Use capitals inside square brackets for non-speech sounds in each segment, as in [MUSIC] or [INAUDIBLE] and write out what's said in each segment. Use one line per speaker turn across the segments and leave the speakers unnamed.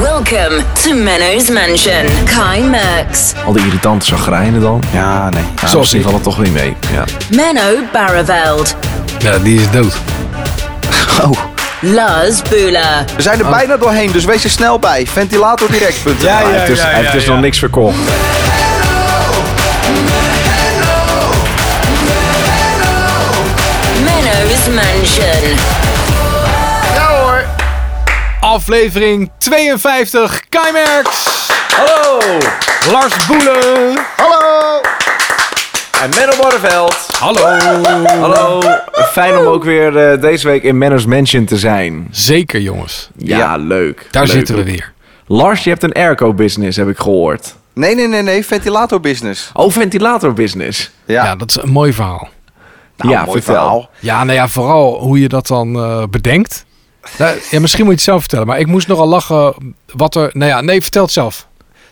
Welcome to Menno's Mansion. Kai Merks,
Al die irritante zagrijnen dan.
Ja, nee. Ja,
Zoals die
ik.
vallen toch weer mee. Ja.
Menno Barreveld,
Ja, die is dood.
Oh.
Lars Bula,
We zijn er bijna doorheen, dus wees er snel bij. Ventilatordirect.nl
Oh. Ja,
Maar
ja.
hij heeft dus, hij heeft dus
ja.
nog niks verkocht.
Menno's Mansion.
Aflevering 52, Kai Merks,
Hallo!
Lars Boelen.
Hallo!
En Menno Barreveld.
Hallo.
Hallo. Fijn om ook weer eh, deze week in Menno's Mansion te zijn.
Zeker jongens,
Ja, leuk.
daar
Leuk.
zitten we weer.
Lars, je hebt een airco-business, heb ik gehoord.
Nee, nee, nee, nee. Ventilatorbusiness.
Oh, ventilator-business.
Ja,
Ja. dat is een mooi verhaal.
nou,
ja,
mooi
vertel.
verhaal.
Ja, nou ja, vooral hoe je dat dan eh, bedenkt. Nou, ja, misschien moet je het zelf vertellen, maar ik moest nogal lachen wat er... Nou ja, nee, vertel het zelf.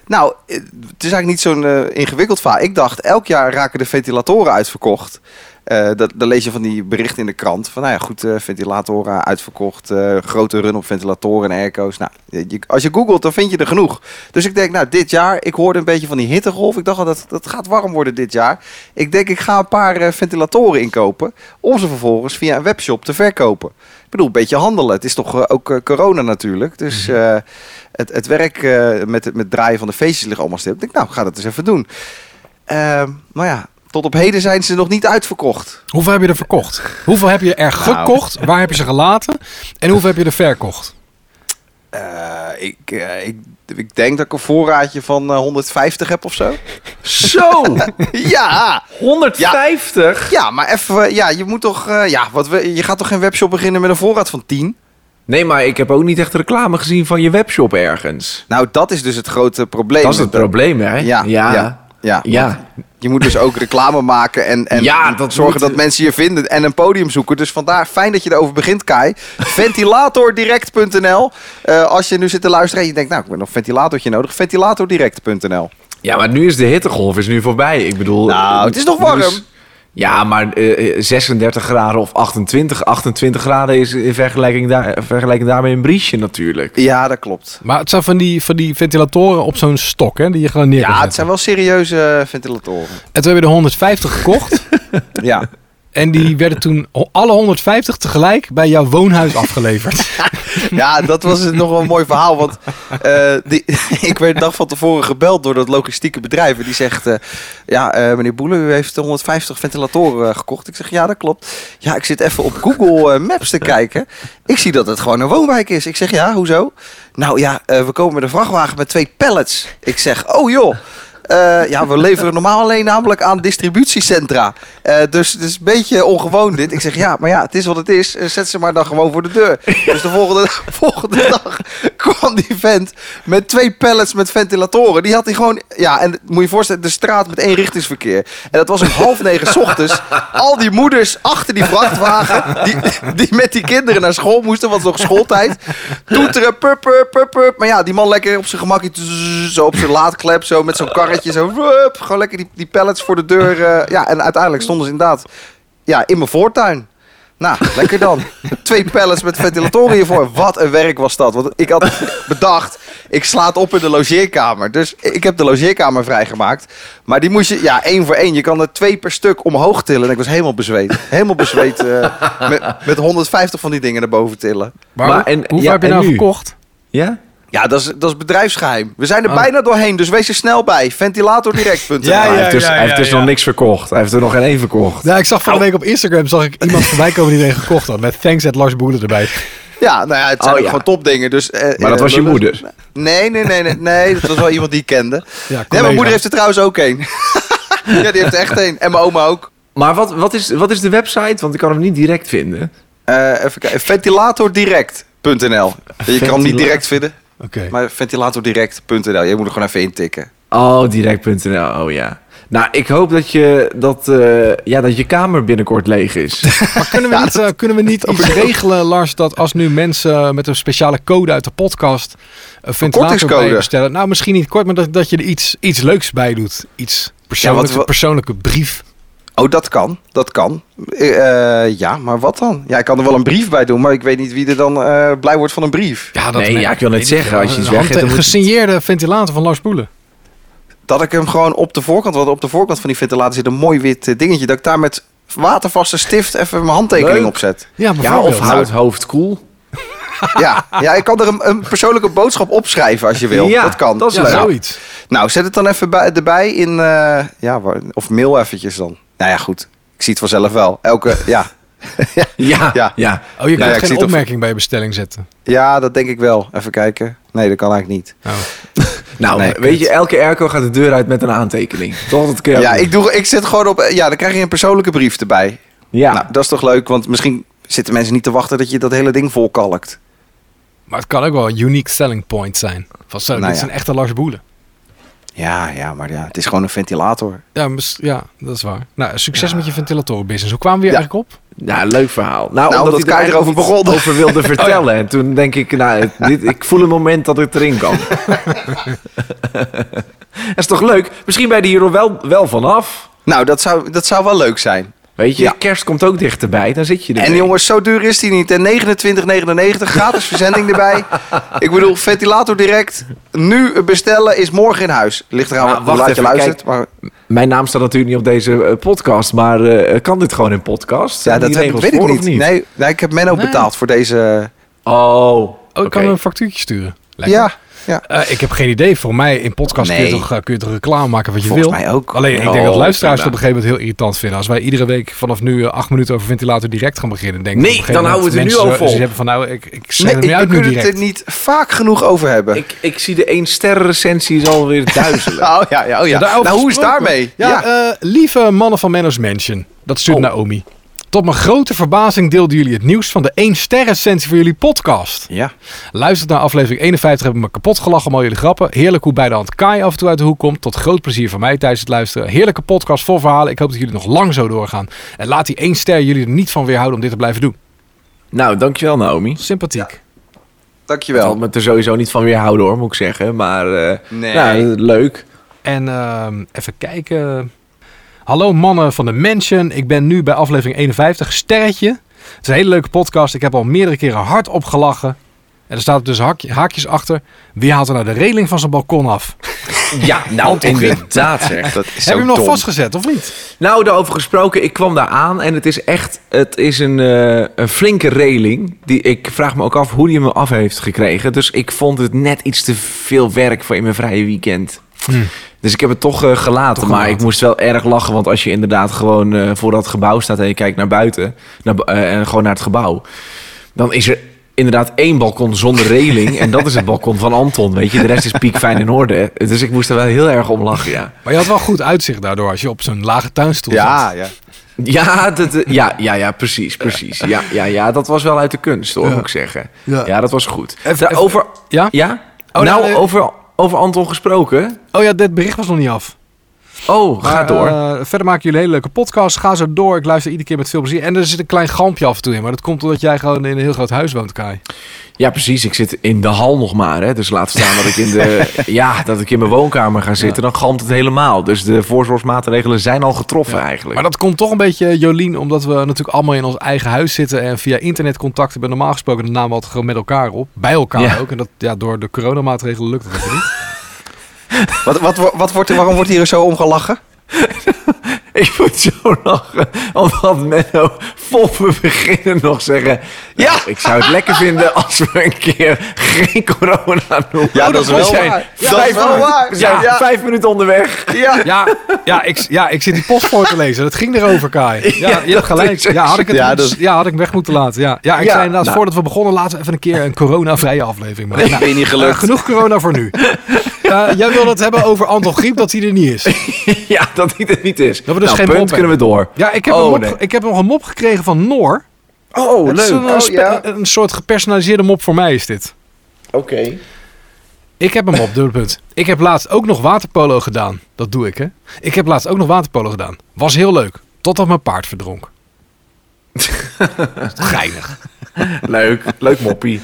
Nou, eh, het is eigenlijk niet zo'n eh, ingewikkeld verhaal. Ik dacht, elk jaar raken de ventilatoren uitverkocht. Eh dat, dan lees je van die berichten in de krant. Van, nou ja, goed, eh, ventilatoren uitverkocht. eh, grote run op ventilatoren en airco's. Nou, je- je- als je googelt, dan vind je er genoeg. Dus ik denk, nou, dit jaar, ik hoorde een beetje van die hittegolf. Ik dacht al, dat, dat gaat warm worden dit jaar. Ik denk, ik ga een paar eh, ventilatoren inkopen. Om ze vervolgens via een webshop te verkopen. Ik bedoel, een beetje handelen. Het is toch eh, ook eh, corona natuurlijk. Dus eh, het, het werk eh, met, het- met het draaien van de feestjes ligt allemaal stil. Ik denk, nou, ik ga dat eens even doen. Ehm maar ja, tot op heden zijn ze nog niet uitverkocht.
Hoeveel heb je er verkocht? Hoeveel heb je er
Nou.
gekocht? Waar heb je ze gelaten? En hoeveel heb je er verkocht?
Eh, ik, eh, ik, ik denk dat ik een voorraadje van eh, 150 heb of
[LAUGHS]
zo.
Zo! [LAUGHS]
ja,
150?
ja, maar even, eh, ja, je moet toch, eh, ja, wat we, je gaat toch geen webshop beginnen met een voorraad van 10?
Nee, maar ik heb ook niet echt reclame gezien van je webshop ergens.
Nou, dat is dus het grote probleem.
Dat is het probleem, hè?
Ja, ja, ja.
Ja.
Je moet dus ook reclame maken en, en
Ja, dat
zorgen
moet-
dat mensen je vinden en een podium zoeken. Dus vandaar, fijn dat je erover begint, Kai.
[LAUGHS]
Ventilatordirect.nl. Eh, als je nu zit te luisteren en je denkt, nou, ik heb nog een ventilatortje nodig. Ventilatordirect.nl.
Ja, maar nu is de hittegolf is nu voorbij. Ik bedoel...
Nou, het is nog warm.
nu is- ja, maar eh, eh, 36 graden of 28. 28 graden is in vergelijking, daar, vergelijking daarmee een briesje natuurlijk.
Ja, dat klopt.
Maar het zijn van die, van die ventilatoren op zo'n stok, hè, die je gewoon neer kan
Ja, het
zetten.
zijn wel serieuze eh, ventilatoren.
En toen hebben we er 150 gekocht.
[LAUGHS] Ja.
En die werden toen ho- alle 150 tegelijk bij jouw woonhuis afgeleverd.
Ja, dat was het nog wel een mooi verhaal. Want eh, die, [LAUGHS] ik werd een dag van tevoren gebeld door dat logistieke bedrijf. En die zegt, eh, ja, eh, meneer Boelen, u heeft 150 ventilatoren eh, gekocht. Ik zeg, ja, dat klopt. Ja, ik zit even op Google eh, Maps te kijken. Ik zie dat het gewoon een woonwijk is. Ik zeg, ja, hoezo? Nou ja, eh, we komen met een vrachtwagen met twee pallets. Ik zeg, oh joh. eh, ja, we leveren normaal alleen namelijk aan distributiecentra. Eh, dus het is een beetje ongewoon dit. Ik zeg, ja, maar ja, het is wat het is. Eh, zet ze maar dan gewoon voor de deur. Dus de volgende, [LAUGHS] volgende dag kwam die vent met twee pallets met ventilatoren. Die had hij gewoon... Ja, en moet je je voorstellen, de straat met één richtingsverkeer. En dat was om half negen 's ochtends. Al die moeders achter die vrachtwagen... die, die met die kinderen naar school moesten, want het was nog schooltijd. Toeteren, pup, pup, pup, pup. Maar ja, die man lekker op zijn gemakje... tzzz, zo op zijn laadklep, zo met zo'n karretje. Zo, wup, gewoon lekker die, die pallets voor de deur. eh, ja, en uiteindelijk stonden ze inderdaad ja, in mijn voortuin. Nou, lekker
[LAUGHS]
dan. Twee pallets met ventilatoren hiervoor. Wat een werk was dat. Want ik had bedacht, ik sla het op in de logeerkamer. Dus ik heb de logeerkamer vrijgemaakt. Maar die moest je, ja, één voor één. Je kan er twee per stuk omhoog tillen. En ik was helemaal bezweet. Helemaal
[LAUGHS]
bezweet eh, met, met 150 van die dingen naar boven tillen.
Maar,
Maar
hoe-
en-
hoeveel
ja,
heb je
en
nou
nu?
gekocht?
Ja?
Ja, dat is, dat is bedrijfsgeheim. We
Oh.
zijn er bijna doorheen, dus wees er snel bij. Ventilatordirect.nl
[LAUGHS]
Ja,
hij heeft dus,
ja,
hij heeft
ja,
dus
ja.
nog niks verkocht. Hij heeft er nog geen één verkocht.
Ja, ik zag van de week op Instagram zag ik iemand voorbij komen die er gekocht had. Met thanks at Lars Boelen erbij.
Ja, nou ja, het zijn
Oh,
ook
ja.
gewoon topdingen. Dus, eh,
Maar dat
eh,
was je
lullen-
moeder?
Nee, nee, nee, nee, nee. Dat was wel iemand die ik kende. nee,
collega.
mijn moeder heeft er trouwens ook een. ja, die heeft er echt een. [LAUGHS] En mijn oma ook.
Maar wat, wat, is, wat is de website? Want ik kan hem niet direct vinden.
Eh even kijken. Ventilatordirect.nl. Je kan hem niet
Ventilator.
direct vinden,
Oké.
maar ventilatordirect.nl. Je moet er gewoon even intikken.
Oh, direct.nl. Oh ja. Nou, ik hoop dat je, dat, eh, ja, dat je kamer binnenkort leeg
[LAUGHS]
is.
Maar
[LAUGHS]
kunnen we, niet, eh, kunnen we niet iets regelen, Lars, dat als nu mensen eh, met een speciale code uit de podcast een ventilator
kortingscode.
bij je bestellen. Nou, misschien niet kort, maar dat, dat je er iets, iets leuks bij doet. Iets persoonlijks,
we-
een persoonlijke brief.
Oh, dat kan. Dat kan. Eh, ja, maar wat dan? Ja, ik kan er wel een brief bij doen, maar ik weet niet wie er dan eh, blij wordt van een brief.
Ja,
Nee, ja, ik wil net
weet
zeggen,
wel.
als je iets
Een
weggeeft, dan
hand-
moet-
gesigneerde ventilator van Lars Boelen.
Dat ik hem gewoon op de voorkant, want op de voorkant van die ventilator zit een mooi wit eh, dingetje, dat ik daar met watervaste stift even mijn handtekening
Leuk.
op zet.
Ja,
Ja,
bijvoorbeeld.
of hou het hoofd koel.
Ja, ja, ik kan er een, een persoonlijke boodschap opschrijven als je wil.
Ja,
dat kan.
dat is
Ja,
leuk.
zoiets.
Nou, zet het dan even bij, erbij in. eh, ja, waar- of mail eventjes dan. Nou ja, goed. Ik zie het vanzelf wel. [LAUGHS] Elke, ja.
Ja,
Ja.
ja.
Oh, je
ja,
kunt
ik zie
geen
het op-
opmerking bij je bestelling zetten.
ja, dat denk ik wel. Even kijken. Nee, dat kan eigenlijk niet.
Oh.
Nou,
Nee,
weet je, elke airco gaat de deur uit met een aantekening. Toch? Dat kun je
Ja,
ook doen.
ik, doe, ik zet gewoon op. eh, Ja, dan krijg je een persoonlijke brief erbij.
Ja.
Nou, dat is toch leuk, want misschien zitten mensen niet te wachten dat je dat hele ding volkalkt.
Maar het kan ook wel een unique selling point zijn. Van zo,
Nou
dit is
ja.
een echte Lars Boelen.
Ja, ja, maar ja, het is gewoon een ventilator.
Ja, mis- ja, dat is waar. Nou, succes met je ventilatorenbusiness. Hoe kwamen we hier
Ja.
eigenlijk op?
Ja, leuk verhaal. Nou,
omdat
ik
Kai
er
erover
eigenlijk
begon.
iets Over Oh, wilde [LAUGHS] vertellen. En toen denk ik, nou, het- dit, ik voel een moment dat het erin kan. [LAUGHS] dat is toch leuk? Misschien ben je hier wel, wel vanaf.
Nou, dat zou, dat zou wel leuk zijn.
Weet je,
Ja.
kerst komt ook dichterbij. Dan zit je er.
En
weer.
jongens, zo duur is die niet. En 29,99 gratis verzending erbij. Ik bedoel, ventilator direct. Nu bestellen is morgen in huis. Ligt eraan
Maar
hoe
wacht
laat je
even,
luistert. Maar,
Mijn naam staat natuurlijk niet op deze eh, podcast. Maar eh, kan dit gewoon in podcast?
ja,
Zijn
dat
die
heb,
regels
weet ik
voor
niet.
of niet.
Nee, nee, ik heb men ook
Nee.
betaald voor deze.
Oh,
Oh, ik
oké.
kan een factuurtje sturen. Lekker.
Ja, ja.
Eh, ik heb geen idee. Voor mij in podcast kun,
Nee.
je toch, eh, kun je toch reclame maken wat je
Volgens
wil.
mij ook.
Alleen ik denk
Oh,
dat luisteraars
prima.
het op een gegeven moment heel irritant vinden. Als wij iedere week vanaf nu eh, acht minuten over ventilator direct gaan beginnen. Denk ik
Nee,
op een gegeven
dan houden we het
moment
er nu
mensen
al
zo-
vol.
Ze hebben van nou, ik, ik zet
Nee,
hem
ik
niet uit nu
kunnen het er
direct.
niet vaak genoeg over hebben.
Ik, ik zie de 1 sterren recensies alweer [LAUGHS] duizelen.
[LAUGHS] Oh ja, ja, oh ja.
Daarover
Nou, hoe is
gesproken.
daarmee?
Ja, eh, lieve mannen van Menno's Mansion. Dat stuurt
Oh.
Naomi. Tot mijn grote verbazing deelden jullie het nieuws van de 1 ster recensie voor jullie podcast.
ja.
Luistert naar aflevering 51, hebben me kapot gelachen om al jullie grappen. Heerlijk hoe bij de hand Kai af en toe uit de hoek komt. Tot groot plezier van mij tijdens het luisteren. Heerlijke podcast vol verhalen. Ik hoop dat jullie nog lang zo doorgaan. En laat die 1 ster jullie er niet van weerhouden om dit te blijven doen.
nou, dankjewel Naomi.
Sympathiek.
Ik had
Dankjewel.
me er sowieso niet van weerhouden hoor, moet ik zeggen. Maar eh,
Nee.
nou, leuk.
En ehm, even kijken. Hallo mannen van de Mansion. Ik ben nu bij aflevering 51. Sterretje. Het is een hele leuke podcast. Ik heb al meerdere keren hard opgelachen. En er staat dus haakje- haakjes achter. Wie haalt er nou de reling van zijn balkon af?
Ja, [LAUGHS] nou inderdaad zeg.
Dat is zo
Heb je hem nog
dom.
vastgezet of niet?
Nou, daarover gesproken, ik kwam daar aan en het is echt, het is een, eh, een flinke reling. Die, ik vraag me ook af hoe die hem af heeft gekregen. Dus ik vond het net iets te veel werk voor in mijn vrije weekend. Dus ik heb het toch eh, gelaten,
Hmm. Toch
maar
gelaten.
ik moest wel erg lachen. Want als je inderdaad gewoon eh, voor dat gebouw staat en je kijkt naar buiten, naar, bu- eh, en gewoon naar het gebouw, dan is er inderdaad één balkon zonder reling. en dat is het balkon van Anton, weet je. De rest is piekfijn in orde. Dus ik moest er wel heel erg om lachen, ja.
Maar je had wel goed uitzicht daardoor als je op zo'n lage tuinstoel
Ja,
zat.
ja.
Ja, dat, eh, ja, ja, ja, precies, precies. Ja, ja, ja, dat was wel uit de kunst, hoor,
Ja.
moet ik zeggen.
Ja.
Ja, dat was goed.
Even-
Daar over,
Ja?
ja?
Oh,
nou,
nou, eh,
over, over Anton gesproken.
Oh ja, dit bericht was nog niet af.
Oh, ga
Maar,
door.
eh, verder maken jullie een hele leuke podcast. Ga zo door. Ik luister iedere keer met veel plezier. En er zit een klein galmpje af en toe in. Maar dat komt omdat jij gewoon in een heel groot huis woont, Kai.
Ja, precies. Ik zit in de hal nog maar, hè. Dus laat staan dat ik in, de,
[LAUGHS]
ja, dat ik in mijn woonkamer ga zitten. Dan galmt het helemaal. Dus de voorzorgsmaatregelen zijn al getroffen eigenlijk.
Maar dat komt toch een beetje, Jolien, omdat we natuurlijk allemaal in ons eigen huis zitten. En via internet contact hebben. Normaal gesproken de naam altijd gewoon met elkaar op. Bij elkaar
Ja.
ook. En dat, ja, door de coronamaatregelen lukt dat
[LAUGHS]
even niet.
Wat, wat, wat, wordt er, waarom wordt hier zo om gelachen?
Ik moet zo lachen, omdat Menno vol we beginnen nog zeggen...
Ja.
"Nou, ik zou het lekker vinden als we een keer geen corona noemen.
Ja, dat is wel
We zijn
waar. Ja, dat is
Vijf,
wel
minuten-
waar.
we zijn
Ja.
vijf minuten onderweg.
Ja.
Ja, ja, ik, ja, ik zit die post voor te lezen. Dat ging erover,
[LAUGHS]
Kai.
Ja,
Ja, je hebt
dat
gelijk.
is-
Ja, had ik, het
Ja,
goed-
dat-
ja, had ik hem weg moeten laten. Ja, ja ik
Ja,
zei inderdaad,
nou.
voordat we begonnen, laten we even een keer een corona-vrije aflevering maken.
[LAUGHS]
Ik ben niet
Eh,
gelukt.
genoeg corona voor nu. Eh, jij wil het hebben over Anton Griep, dat hij er niet is.
Ja, dat hij er niet is.
we dus
nou,
geen mop
punt kunnen we door.
Ja, ik heb,
Oh,
een mop,
nee.
ik heb nog een mop gekregen van Noor.
Oh,
Het is Een,
leuk.
een spe-
ja.
een soort gepersonaliseerde mop voor mij is dit.
Oké.
Ik heb hem op, dubbelpunt. Ik heb laatst ook nog waterpolo gedaan. Dat doe ik, hè. Ik heb laatst ook nog waterpolo gedaan. Was heel leuk. Totdat mijn paard
[LAUGHS]
verdronk. Geinig.
Leuk. Leuk moppie.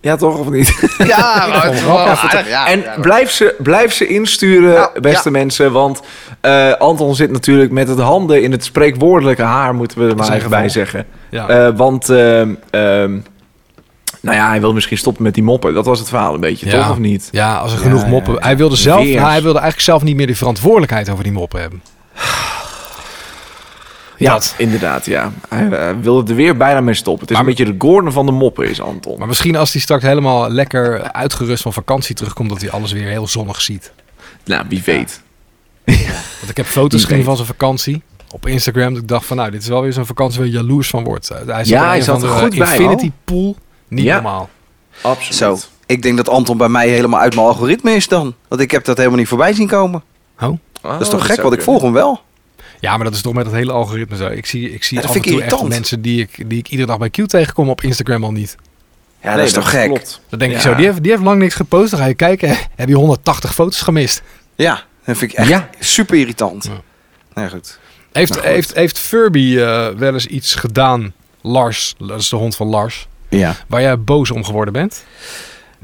Ja, toch of niet?
Ja, maar het is wel aardig. Ja,
en
ja,
blijf, ze, blijf ze insturen,
Ja,
beste
ja.
mensen. Want eh, Anton zit natuurlijk met het handen in het spreekwoordelijke haar, moeten we er maar
zijn
even bij
geval.
zeggen.
Ja.
Eh, want, ehm, ehm, nou ja, hij wil misschien stoppen met die moppen. Dat was het verhaal een beetje,
Ja.
toch of niet?
Ja, als er
Ja,
genoeg
ja,
moppen.
ja.
Hij, wilde zelf,
Weer.
nou, hij wilde eigenlijk zelf niet meer de verantwoordelijkheid over die moppen hebben.
Ja,
Dat.
inderdaad, ja. Hij eh, wilde er weer bijna mee stoppen. Het is
Maar-
een beetje de Gordon van de moppen, is Anton.
Maar misschien als hij straks helemaal lekker uitgerust van vakantie terugkomt, dat hij alles weer heel zonnig ziet.
nou, wie weet.
Want ik heb foto's
Wie
gezien
weet.
van zijn vakantie op Instagram. Dat ik dacht van, nou, dit is wel weer zo'n vakantie waar je jaloers van wordt. Hij zat
Ja,
in
hij
een
zat
of
er
andere
goed bij,
Infinity pool. Niet
Ja.
normaal.
Absoluut.
Zo, ik denk dat Anton bij mij helemaal uit mijn algoritme is dan. Want ik heb dat helemaal niet voorbij zien komen.
Oh,
Ah, Dat is toch
zou
gek, want ik
kunnen.
volg hem wel.
Ja, maar dat is toch met dat hele algoritme zo. Ik zie, ik zie
Ja, dat
af en
vind ik
toe echt
irritant.
mensen die ik, die ik iedere dag bij Q tegenkom op Instagram al niet.
Ja, dat is
Nee,
toch gek?
klopt.
Dan denk ik
Ja.
zo, die heeft, die heeft lang niks gepost. Dan ga je kijken, heb je 180 foto's gemist?
Ja, dat vind ik echt
Ja.
super irritant.
Ja.
Nou goed.
Heeft,
Nou, goed.
heeft, heeft Furby eh, wel eens iets gedaan, Lars, dat is de hond van Lars,
Ja.
waar jij boos om geworden bent?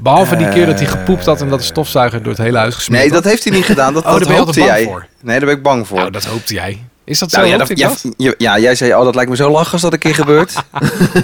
Behalve die keer dat hij
Eh,
gepoept had en dat de stofzuiger door het hele huis gesmeerd
Nee, dat heeft
[LAUGHS]
hij niet gedaan. Dat,
Oh,
dat
daar ben je
hoopte
altijd
jij.
bang voor.
Nee, daar ben ik bang voor.
Nou, dat hoopte jij. Is dat
Nou,
zo?
ja,
Hoopte
dat-
ik
ja,
dat?
ja, ja, jij zei, oh, dat lijkt me zo lach als dat een
[LAUGHS]
keer gebeurt.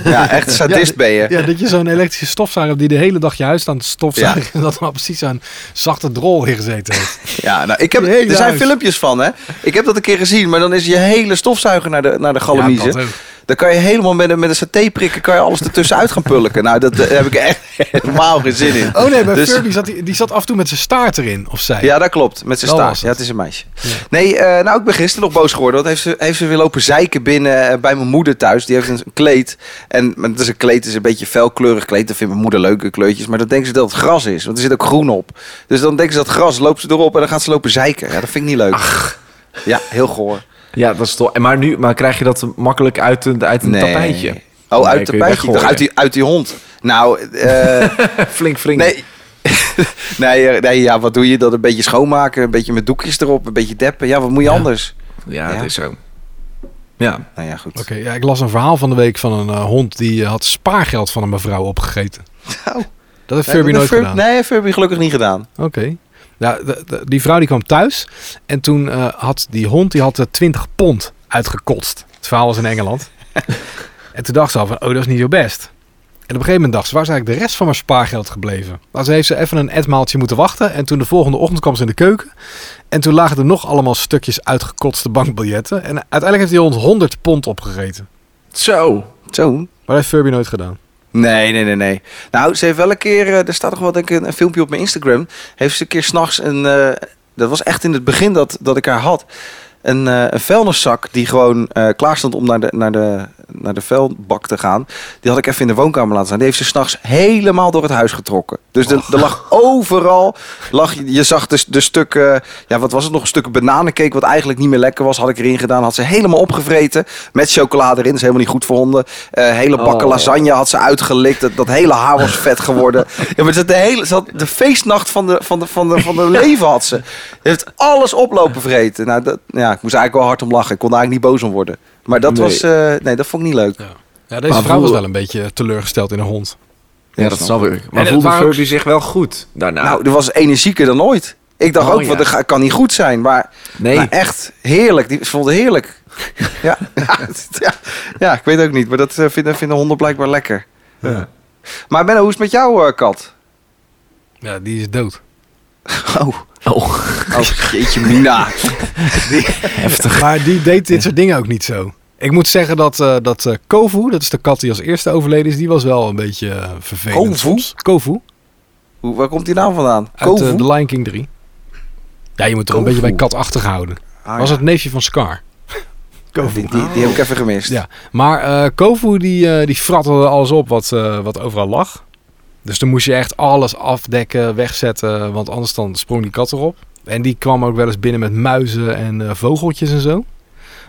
ja, echt sadist ben je.
Ja, dat je zo'n elektrische stofzuiger hebt die de hele dag je huis aan het stofzuigen. En dat er nou precies zo'n zachte drol in gezeten heeft.
Ja, nou, ik heb,
Je hele
er zijn
huis.
filmpjes van, hè. Ik heb dat een keer gezien, maar dan is je hele stofzuiger naar de, naar de
Ja,
galamiezen.
dat ook.
dan kan je helemaal met een, met een satéprikker kan je alles ertussenuit gaan pulken. Nou, dat, daar heb ik echt [LAUGHS] helemaal geen zin in.
Oh nee, bij
Dus-
Furby zat die, die zat af en toe met zijn staart erin, of zij.
Ja, dat klopt. Met zijn
Dat
staart.
was
Ja,
het.
het is een meisje. Nee, eh, nou, ik ben gisteren nog boos geworden. Want heeft ze, heeft ze weer lopen zeiken binnen eh, bij mijn moeder thuis. Die heeft een kleed. En maar het is een kleed, het is een beetje felkleurig kleed. Dat vindt mijn moeder leuke kleurtjes. Maar dan denken ze dat het gras is. Want er zit ook groen op. Dus dan denken ze dat gras, loopt ze erop en dan gaat ze lopen zeiken. Ja, dat vind ik niet leuk. Ja, heel goor.
Ja, dat is toch. en Maar, nu, maar krijg je dat makkelijk uit een, uit een
Nee.
tapijtje? [LAUGHS]
Oh,
Nee, kun
uit het
je
tapijtje. Ik dacht,
weggooien.
Uit die, uit die hond. Nou, eh,
Flink, flink.
nee. nee, [LAUGHS] eh, nee, ja, wat doe je? Dat een beetje schoonmaken, een beetje met doekjes erop, een beetje deppen. Ja, wat moet je
Ja.
anders?
Ja,
Ja.
dat is zo. Ja.
Nou ja, goed.
Oké, ja, ik las een verhaal van de week van een eh, hond die eh, had spaargeld van een mevrouw opgegeten.
Nou.
Dat heeft
Nee,
Furby
dat
nooit
heeft Fur-
gedaan.
Nee, heeft Furby gelukkig niet gedaan.
Oké. Ja, de- de- die vrouw die kwam thuis en toen eh, had die hond die had, eh, 20 pond uitgekotst. Het verhaal was in [LAUGHS] Engeland. en toen dacht ze al van, oh, dat is niet zo best. En op een gegeven moment dacht ze, waar is eigenlijk de rest van mijn spaargeld gebleven? Nou, ze heeft ze even een etmaaltje moeten wachten. En toen de volgende ochtend kwam ze in de keuken. En toen lagen er nog allemaal stukjes uitgekotste bankbiljetten. En uiteindelijk heeft die hond 100 pond opgegeten.
Zo.
Zo.
Maar dat heeft Furby nooit gedaan.
Nee, nee, nee, nee. Nou, ze heeft wel een keer, eh, er staat nog wel denk ik een, een filmpje op mijn Instagram. Heeft ze een keer s'nachts een, eh, dat was echt in het begin dat, dat ik haar had. Een, eh, een vuilniszak die gewoon eh, klaar stond om naar de, naar, de, naar de vuilbak te gaan. Die had ik even in de woonkamer laten staan. Die heeft ze s'nachts helemaal door het huis getrokken. Dus de- er lag overal, lag, je- je zag de, de stukken, ja wat was het nog, stukken bananencake wat eigenlijk niet meer lekker was. Had ik erin gedaan, had ze helemaal opgevreten. Met chocolade erin, dat is helemaal niet goed voor honden. Eh, hele bakken
Oh.
lasagne had ze uitgelikt. Dat, dat hele haar
[LAUGHS]
was vet geworden. ja, maar ze had de, hele, ze had de feestnacht van de, van de, van de, van de leven had ze. Ze heeft alles oplopen vreten. Nou, dat, ja, ik moest eigenlijk wel hard om lachen. Ik kon daar eigenlijk niet boos om worden. Maar dat
Nee.
was, eh, nee, dat vond ik niet leuk.
Ja, deze
Maar
vrouw was
hoe-
wel een beetje teleurgesteld in een hond.
Ja, dat snap ik. Maar
het
voelde
waren ook-
Furby zich wel goed daarna?
Nou, die was energieker dan ooit. Ik dacht
Oh,
ook,
ja.
wat, dat ga- kan niet goed zijn. Maar,
nee.
maar echt, heerlijk. Die ze vonden
[LAUGHS]
het heerlijk. ja. ja, ja, ik weet ook niet. Maar dat eh, vinden, vinden honden blijkbaar lekker.
Ja.
Maar Benno, hoe is het met jouw eh, kat?
Ja, die is dood.
Oh,
Oh,
oh jeetje
[LAUGHS]
mina.
Heftig. Maar die deed dit soort dingen ook niet zo. Ik moet zeggen dat, eh, dat eh, Kovu, dat is de kat die als eerste overleden is, die was wel een beetje eh, vervelend.
Kovu?
soms. Kovu,
Hoe, waar komt die naam vandaan?
uit eh,
Kovu?
The Lion King 3. Ja, je moet er een
Kovu.
beetje bij katachtig houden.
Ah,
was
ja.
het neefje van Scar.
Die, die, die heb ik even gemist.
Ja. Maar eh, Kovu die, eh die frattelde alles op wat, eh, wat overal lag. Dus dan moest je echt alles afdekken, wegzetten, want anders dan sprong die kat erop. En die kwam ook wel eens binnen met muizen en eh, vogeltjes en zo.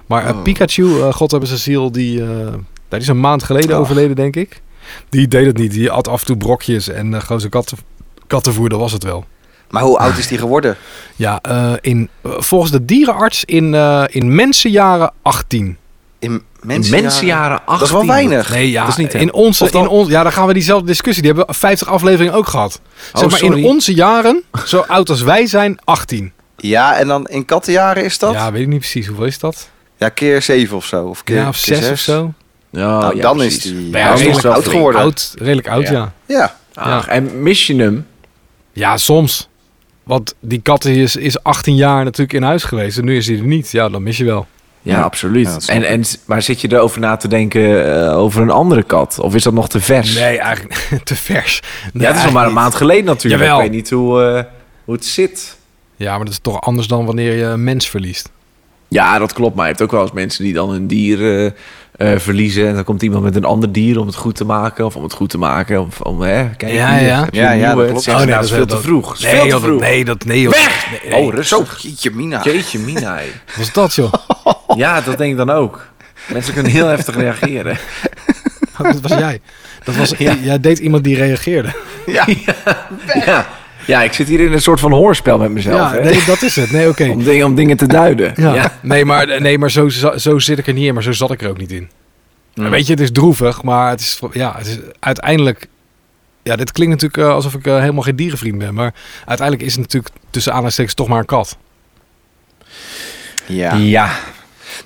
Maar eh,
Oh.
Pikachu, eh, god hebben zijn ziel, die, eh, nou, die is een maand geleden
Ach.
overleden, denk ik. Die deed het niet. Die at af en toe brokjes en eh gozer katten, kattenvoer, dat was het wel.
Maar hoe oud is die geworden?
Ja, eh, in, eh, volgens de dierenarts in, eh, in mensenjaren 18.
In Mensenjaren.
Mensenjaren 18.
Dat is wel weinig.
Nee, ja,
Dat is niet hem.
in onze,
Of dan-
in onze, ja, daar gaan we diezelfde discussie. Die hebben we 50 afleveringen ook gehad. zeg maar in
Oh, sorry.
onze jaren, zo oud als wij zijn, 18.
Ja, en dan in kattenjaren is dat? Ja,
Ja, weet ik niet precies. Hoeveel is dat?
keer 7 of zo. Of keer,
ja, of
keer
zes of zo.
Ja,
Nou,
ja,
dan
precies.
is die
Maar ja,
ja, is nog
redelijk
wel
oud
flink
geworden.
Oud, redelijk oud,
Ja.
ja.
Ja.
Ah, En mis je hem?
Ja, soms. Want die kat is, is 18 jaar natuurlijk in huis geweest. En nu is hij er niet. Ja, dan mis je wel.
Ja,
Ja.
absoluut.
Ja, dat snap
en, en, maar zit je erover na te denken eh, over een andere kat? Of is dat nog te vers?
Nee, eigenlijk [LAUGHS] te vers.
ja, het is nog maar een maand geleden natuurlijk.
Jawel.
Ik weet niet hoe, eh, hoe het zit.
Ja, maar dat is toch anders dan wanneer je een mens verliest.
Ja, dat klopt. Maar je hebt ook wel eens mensen die dan hun dier eh, eh, verliezen. En dan komt iemand met een ander dier om het goed te maken. Of om het goed te maken. Of om, hè, kijk,
Ja,
hier,
ja.
heb je
Ja,
een
ja,
nieuwe?
dat klopt.
Het is
Oh, nee,
inderdaad
dat is
veel
wel-
te vroeg. Het is
Nee,
veel
joh,
te vroeg.
dat, nee, dat, nee, joh.
Weg!
Nee, nee.
Oh, rustig.
[LAUGHS]
Jeetje mina.
Jeetje mina. hé.
Wat is dat, joh?
[LAUGHS] Ja, dat denk ik dan ook. Mensen kunnen heel heftig
[LAUGHS]
reageren.
Dat was jij. Dat was, Jij deed iemand die reageerde.
Ja.
[LAUGHS] Ja. ja, ik zit hier in een soort van hoorspel met mezelf.
Ja,
hè?
nee, dat is het. Nee, oké.
Om, dingen, om dingen te duiden.
Ja.
ja.
Nee, maar, nee, maar zo, zo, zo zit ik er niet in, maar zo zat ik er ook niet in.
Mm.
Weet je, het is droevig, maar het is, ja, het is uiteindelijk... Ja, dit klinkt natuurlijk eh, alsof ik eh, helemaal geen dierenvriend ben, maar uiteindelijk is het natuurlijk tussen aanhalingstekens toch maar een kat.
ja.
Ja.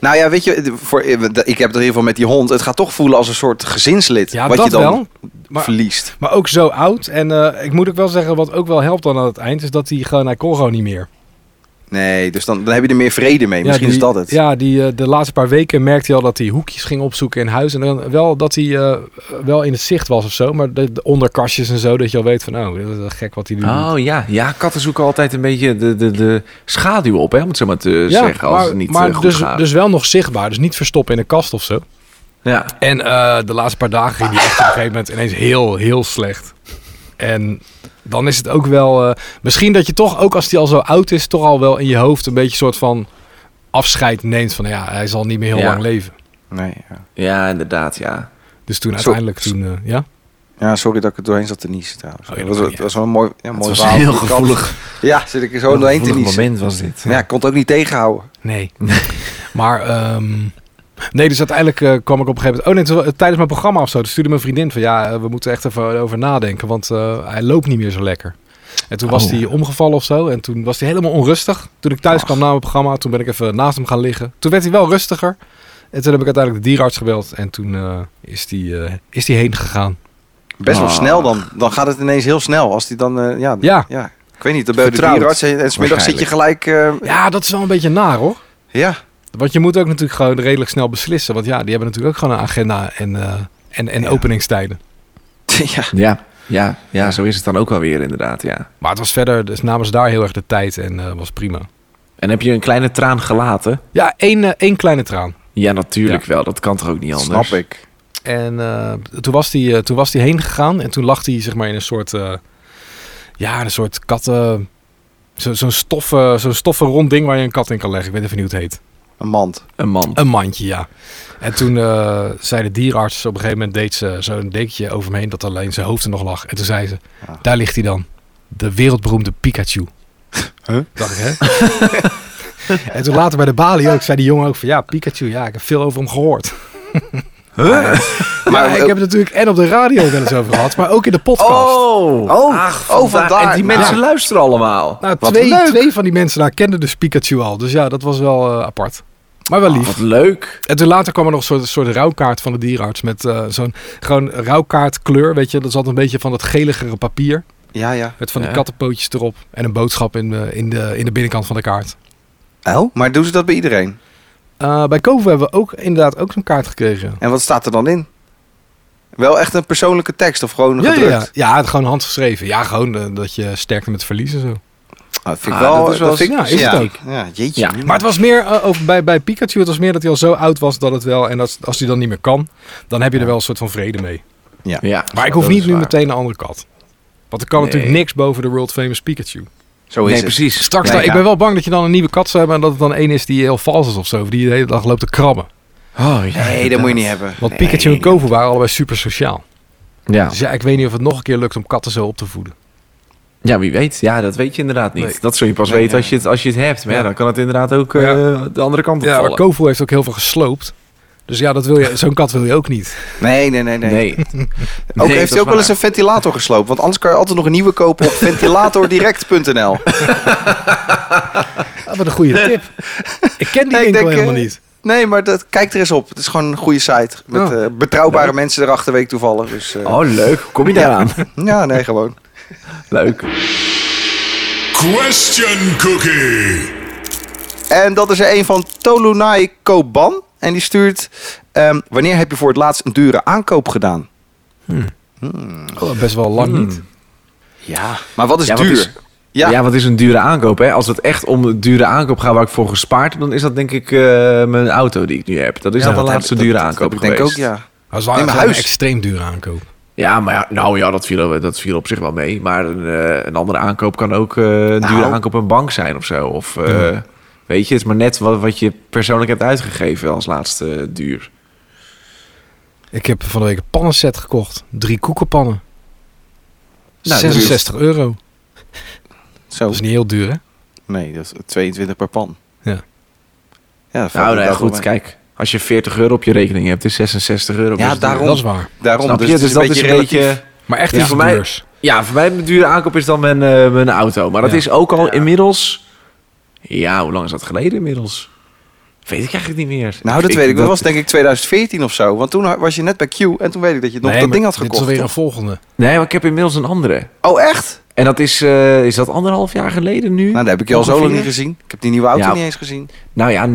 Nou ja, weet je, voor, eh, ik heb het in ieder geval met die hond. Het gaat toch voelen als een soort gezinslid.
Ja,
wat
dat
je dan
wel. Maar,
verliest.
maar ook zo oud. En eh, ik moet ook wel zeggen, wat ook wel helpt dan aan het eind, is dat hij gewoon, hij kon gewoon niet meer.
Nee, dus dan, dan heb je er meer vrede mee.
Ja,
Misschien
die-
is dat het.
Ja, die, eh, de laatste paar weken merkte hij al dat hij hoekjes ging opzoeken in huis. En dan wel dat hij eh, wel in het zicht was of zo. Maar de, de onderkastjes en zo, dat je al weet van, oh, dat is wel gek wat hij nu doet.
Oh ja. ja, katten zoeken altijd een beetje de, de, de schaduw op, hè, om het zo maar te dus zeggen, als het niet
maar
eh, goed
dus,
gaat.
dus wel nog zichtbaar. Dus niet verstoppen in een kast of zo.
ja.
En eh, de laatste paar dagen ging hij echt op een gegeven moment ineens heel, heel slecht. En dan is het ook wel... eh, misschien dat je toch, ook als hij al zo oud is... toch al wel in je hoofd een beetje soort van afscheid neemt van... ja, hij zal niet meer heel
Ja.
lang leven.
Nee, ja.
ja, inderdaad, ja.
Dus toen
Zo-
uiteindelijk... Toen, eh, ja?
ja, sorry dat ik er doorheen zat te niezen trouwens.
Oh, ja,
dat,
dat
was,
maakt
dat was wel een mooi, ja,
Het
mooi
was een
verhaal.
heel
voor die kat.
gevoelig,
Ja, zit ik er zo
heel
doorheen te
gevoelig
niezen.
moment was dit.
Maar Ja, ik kon het ook niet tegenhouden.
Nee. maar, ehm, nee, dus uiteindelijk eh, kwam ik op een gegeven moment... Oh nee, toen- tijdens mijn programma of zo, toen stuurde mijn vriendin van... Ja, eh, we moeten echt even over nadenken, want eh, hij loopt niet meer zo lekker. En toen was
Oh.
hij omgevallen of zo. En toen was hij helemaal onrustig. Toen ik thuis kwam na mijn programma, toen ben ik even naast hem gaan liggen. Toen werd hij wel rustiger. En toen heb ik uiteindelijk de dierenarts gebeld. En toen eh, is hij eh, is die heen gegaan.
Best wel
Ah.
snel dan. Dan gaat het ineens heel snel. Als die dan, eh, ja,
Ja.
ja. Ik weet niet, dan ben je de
Vertrouwd,
dierenarts en en smiddags zit je gelijk... eh,
Ja, dat is wel een beetje naar hoor.
ja.
Want je moet ook natuurlijk gewoon redelijk snel beslissen. Want ja, die hebben natuurlijk ook gewoon een agenda en, eh, en, en openingstijden.
ja.
Ja, ja, ja, zo is het dan ook wel weer, inderdaad, ja.
Maar het was verder, dus namen ze daar heel erg de tijd en eh, was prima.
En heb je een kleine traan gelaten?
Ja, één, eh, één kleine traan.
Ja, natuurlijk wel. Dat kan toch ook niet anders?
Snap ik.
En eh, toen, was die, eh, toen was die heen gegaan en toen lag hij zeg maar in een soort, eh, ja, een soort katten, zo- zo'n stoffen, zo'n stoffen rond ding waar je een kat in kan leggen. Ik weet even niet hoe het heet.
Een mand.
Een man.
Een mandje, ja. En toen eh, zei de dierenarts, op een gegeven moment deed ze zo'n dekentje over hem heen dat alleen zijn hoofd er nog lag. En toen zei ze,
Ja.
daar ligt hij dan, de wereldberoemde Pikachu.
Huh?
Dacht ik, hè? [LAUGHS] en toen later bij de balie ook, zei die jongen ook van, ja, Pikachu, ja, ik heb veel over hem gehoord.
Maar eh,
Maar eh, ik heb het natuurlijk en op de radio wel eens over gehad, maar ook in de podcast.
Oh,
Oh,
ach,
oh,
vandaar.
vandaar.
En die
Nou.
mensen luisteren allemaal.
Nou,
Wat
twee,
leuk.
twee van die mensen daar kenden dus Pikachu al. Dus ja, dat was wel eh, apart. Maar wel lief.
Ah, Wat leuk.
En toen later kwam er nog een soort, soort rouwkaart van de dierenarts. Met eh, zo'n gewoon rouwkaartkleur, weet je. Dat zat een beetje van dat geligere papier.
Ja, ja.
Met van die
Ja.
kattenpootjes erop. En een boodschap in, de- in, de, in de binnenkant van de kaart.
Oh? Maar doen ze dat bij iedereen?
Eh, bij Kovo hebben we ook inderdaad ook zo'n kaart gekregen.
En wat staat er dan in? Wel echt een persoonlijke tekst of gewoon
Ja, ja,
gedrukt?
ja. ja, gewoon handgeschreven. Ja, gewoon eh, dat je sterkte met verliezen zo.
Ah, dat vind ik
Ah,
wel...
dat is wel
vind ik-
ja, is
ja.
het ook.
Ja, jeetje.
Ja,
mina.
Maar het was meer eh, over, bij, bij Pikachu. Het was meer dat hij al zo oud was dat het wel. En dat, als hij dan niet meer kan, dan heb je er wel een soort van vrede mee.
Ja,
Maar ik hoef
dat
niet
is
nu
waar.
meteen een andere kat. Want er kan
Nee.
natuurlijk niks boven de world famous Pikachu.
Zo is
Nee,
het.
precies.
Straks,
Nee,
dan- ik
ja.
ben wel bang dat je dan een nieuwe kat zou hebben en dat het dan één is die heel vals is of zo. Die de hele dag loopt te krabben.
Oh, ja,
Nee, dat moet je niet hebben.
Want Pikachu en Kovu waren allebei super sociaal.
Ja.
Dus ja, ik weet niet of het nog een keer lukt om katten zo op te voeden.
ja, wie weet. Ja, dat weet je inderdaad niet.
Nee.
Dat zul je pas
Nee,
weten
ja.
als je, het, als je het hebt. Maar ja,
Ja.
dan kan het inderdaad ook eh,
Ja.
de andere kant op
Ja, maar
vallen.
Kovu heeft ook heel veel gesloopt. Dus ja, dat wil je, [LAUGHS] zo'n kat wil je ook niet.
Nee, nee, nee, nee.
Nee.
[LAUGHS] Ook
Nee,
heeft
dat
hij ook
is
wel eens een ventilator gesloopt. Want anders kan je altijd nog een nieuwe
[LAUGHS]
kopen op ventilatordirect.nl.
Ah, wat een goede tip. Ik ken die
Nee, ik
winkel
denk,
helemaal
eh,
niet.
Nee, maar dat, kijk er eens op. Het is gewoon een goede site. Met
Oh.
eh, betrouwbare mensen erachter, weet ik toevallig. Dus, eh,
Oh, leuk. Hoe Kom je
Ja.
daar aan?
[LAUGHS] Ja, nee, gewoon.
Leuk.
Question Cookie.
En dat is er een van Tolunai Koban. En die stuurt... ehm, wanneer heb je voor het laatst een dure aankoop gedaan?
Oh, best wel lang niet.
Ja. Maar wat is
Ja, wat
duur?
is-
ja.
Ja. wat is een dure aankoop? Hè? Als het echt om een dure aankoop gaat waar ik voor gespaard heb, dan is dat denk ik eh, mijn auto die ik nu heb. Dat is
Ja,
dan
dat
de
heb
laatste
Dat-
dure
dat heb
aankoop
ik
geweest.
denk ook, ja.
Dat is
Nee,
wel echt
maar
wel een
huis.
extreem dure aankoop.
Ja, maar ja, nou ja, dat viel, dat viel op zich wel mee. Maar een, eh, een andere aankoop kan ook eh, een
Nou.
dure aankoop een bank zijn of zo. Of eh, weet je, het is maar net wat, wat je persoonlijk hebt uitgegeven als laatste eh, duur.
Ik heb van de week een pannenset gekocht. Drie koekenpannen.
Nou,
66 euro.
Zo.
Dat is niet heel duur, hè?
Nee, dat is 22 per pan.
Ja.
Ja, dat
Nou,
valt
nou ja,
inderdaad wel
goed,
mee.
kijk. Als je 40 euro op je rekening hebt, is 66 euro.
Ja,
best
daarom.
duur.
Dat is waar.
Daarom,
Snap je?
dus,
Dus,
het is
dat
een beetje relatief.
Maar echt
Ja,
iets
voor mij-
duurs.
Ja, voor mij een dure aankoop is dan mijn, eh, mijn auto. Maar dat
Ja.
is ook al inmiddels... Ja, hoe lang is dat geleden inmiddels? Weet ik eigenlijk niet meer.
Nou, dat weet ik. Dat was denk ik 2014 of zo. Want toen ha- was je net bij Q en toen weet ik dat je nog
Nee,
dat
maar
ding had
Dit is
gekocht.
alweer een volgende.
Nee, maar ik heb inmiddels een andere.
Oh, echt?
En dat is, eh, is dat anderhalf jaar geleden nu?
Nou, dat heb ik je al zo
Ongeveer.
lang niet gezien. Ik heb die nieuwe auto
Ja.
niet eens gezien. [LAUGHS]
Nou ja,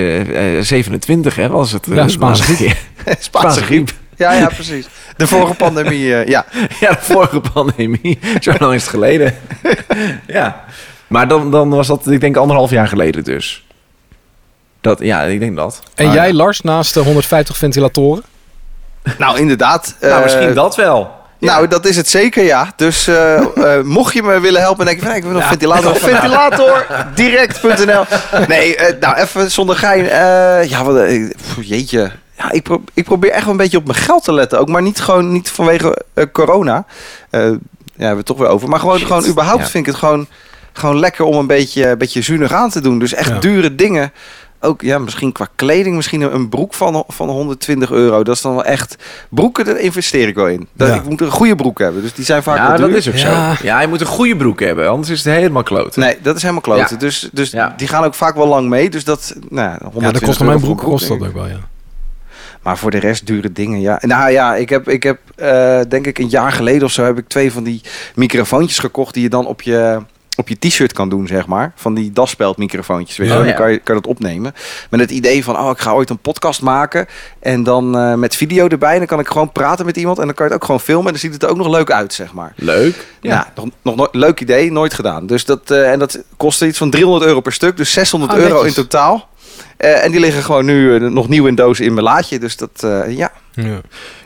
1927 hè, was het. eh,
Ja, Spaanse
de laatste keer. Spaanse griep.
Ja, ja, precies. De vorige pandemie, eh, ja.
[LAUGHS] Ja, de vorige pandemie. [LAUGHS] Zo lang is het geleden. [LAUGHS] ja. Maar dan, dan was dat, ik denk, anderhalf jaar geleden dus. Dat, ja, ik denk dat.
En
Ah,
Maar-
jij, Lars, naast de 150 ventilatoren?
Nou, inderdaad.
Nou,
eh,
misschien dat wel.
Nou, dat is het zeker, ja. Dus eh, eh, mocht je me willen helpen en denken van... nee, ik wil een ventilator. Ventilatordirect.nl Nee, eh, nou, even zonder gein. eh, ja, wat... eh, pff, jeetje. Ja, ik, pro- ik probeer echt wel een beetje op mijn geld te letten. Ook maar niet gewoon niet vanwege eh, corona. Eh, ja, hebben we het toch weer over. Maar gewoon, gewoon überhaupt
Ja.
vind ik het gewoon, gewoon lekker om een beetje, een beetje zuinig aan te doen. Dus echt
Ja.
dure dingen. Ook ja, misschien qua kleding, misschien een- een broek van, van 120 euro. Dat is dan wel echt. Broeken, daar investeer ik wel in. Dat,
Ja.
Ik moet een goede broek hebben. Dus die zijn vaak
Ja,
wel duur.
dat is ook
Ja.
zo. Ja, je moet een goede broek hebben, anders is het helemaal kloot.
Nee, dat is helemaal kloten.
Ja.
Dus, dus
Ja.
die gaan ook vaak wel lang mee. Dus dat, nou, ja, 120
Ja, dat kost
euro
mijn
voor een
broek kost
denk
dat
ik.
ook wel, ja.
Maar voor de rest dure dingen, ja. Nou ja, ik heb, ik heb eh, denk ik een jaar geleden of zo... heb ik twee van die microfoontjes gekocht... die je dan op je, op je t-shirt kan doen, zeg maar. Van die daspeldmicrofoontjes, weet je
Ja.
wel. Dan
Ja.
kan je, kan je dat opnemen. Met het idee van, oh, ik ga ooit een podcast maken... en dan eh, met video erbij. Dan kan ik gewoon praten met iemand... en dan kan je het ook gewoon filmen... en dan ziet het er ook nog leuk uit, zeg maar.
Leuk.
Ja, nog, nog nooit- leuk idee, nooit gedaan. Dus dat, eh, en dat kostte iets van 300 euro per stuk, dus 600
Ah,
euro
netjes.
in totaal. Eh, en die liggen gewoon nu eh, nog nieuw in dozen in mijn laadje. Dus dat, eh, ja.
ja.
Ja,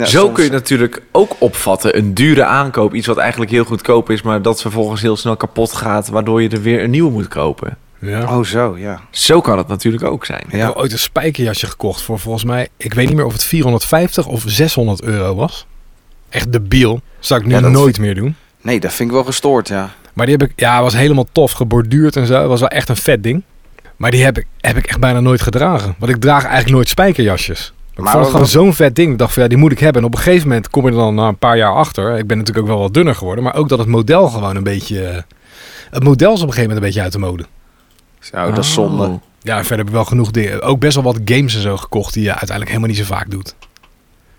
Zo
soms-
kun je het natuurlijk ook opvatten. Een dure aankoop. Iets wat eigenlijk heel goedkoop is, maar dat vervolgens heel snel kapot gaat. Waardoor je er weer een nieuwe moet kopen.
Ja.
Oh, zo, ja.
Zo kan het natuurlijk ook zijn.
Ik heb ooit een spijkerjasje gekocht voor volgens mij, ik weet niet meer of het 450 of 600 euro was. Echt debiel. Zou ik nu
Ja, dat-
nooit meer doen.
Nee, dat vind ik wel gestoord, ja.
Maar die heb ik, ja, was helemaal tof, geborduurd en zo. Was wel echt een vet ding. Maar die heb ik, heb ik echt bijna nooit gedragen. Want ik draag eigenlijk nooit spijkerjasjes. Maar ik
Maar
vond het
wat-
gewoon zo'n vet ding. Ik dacht van ja, die moet ik hebben. En op een gegeven moment kom je er dan na een paar jaar achter. Ik ben natuurlijk ook wel wat dunner geworden. Maar ook dat het model gewoon een beetje... eh, Het model is op een gegeven moment een beetje uit de mode.
Zo, Oh, dat
Oh.
is zonde.
Ja, en verder heb ik wel genoeg dingen. Ook best wel wat games en zo gekocht die je uiteindelijk helemaal niet zo vaak doet.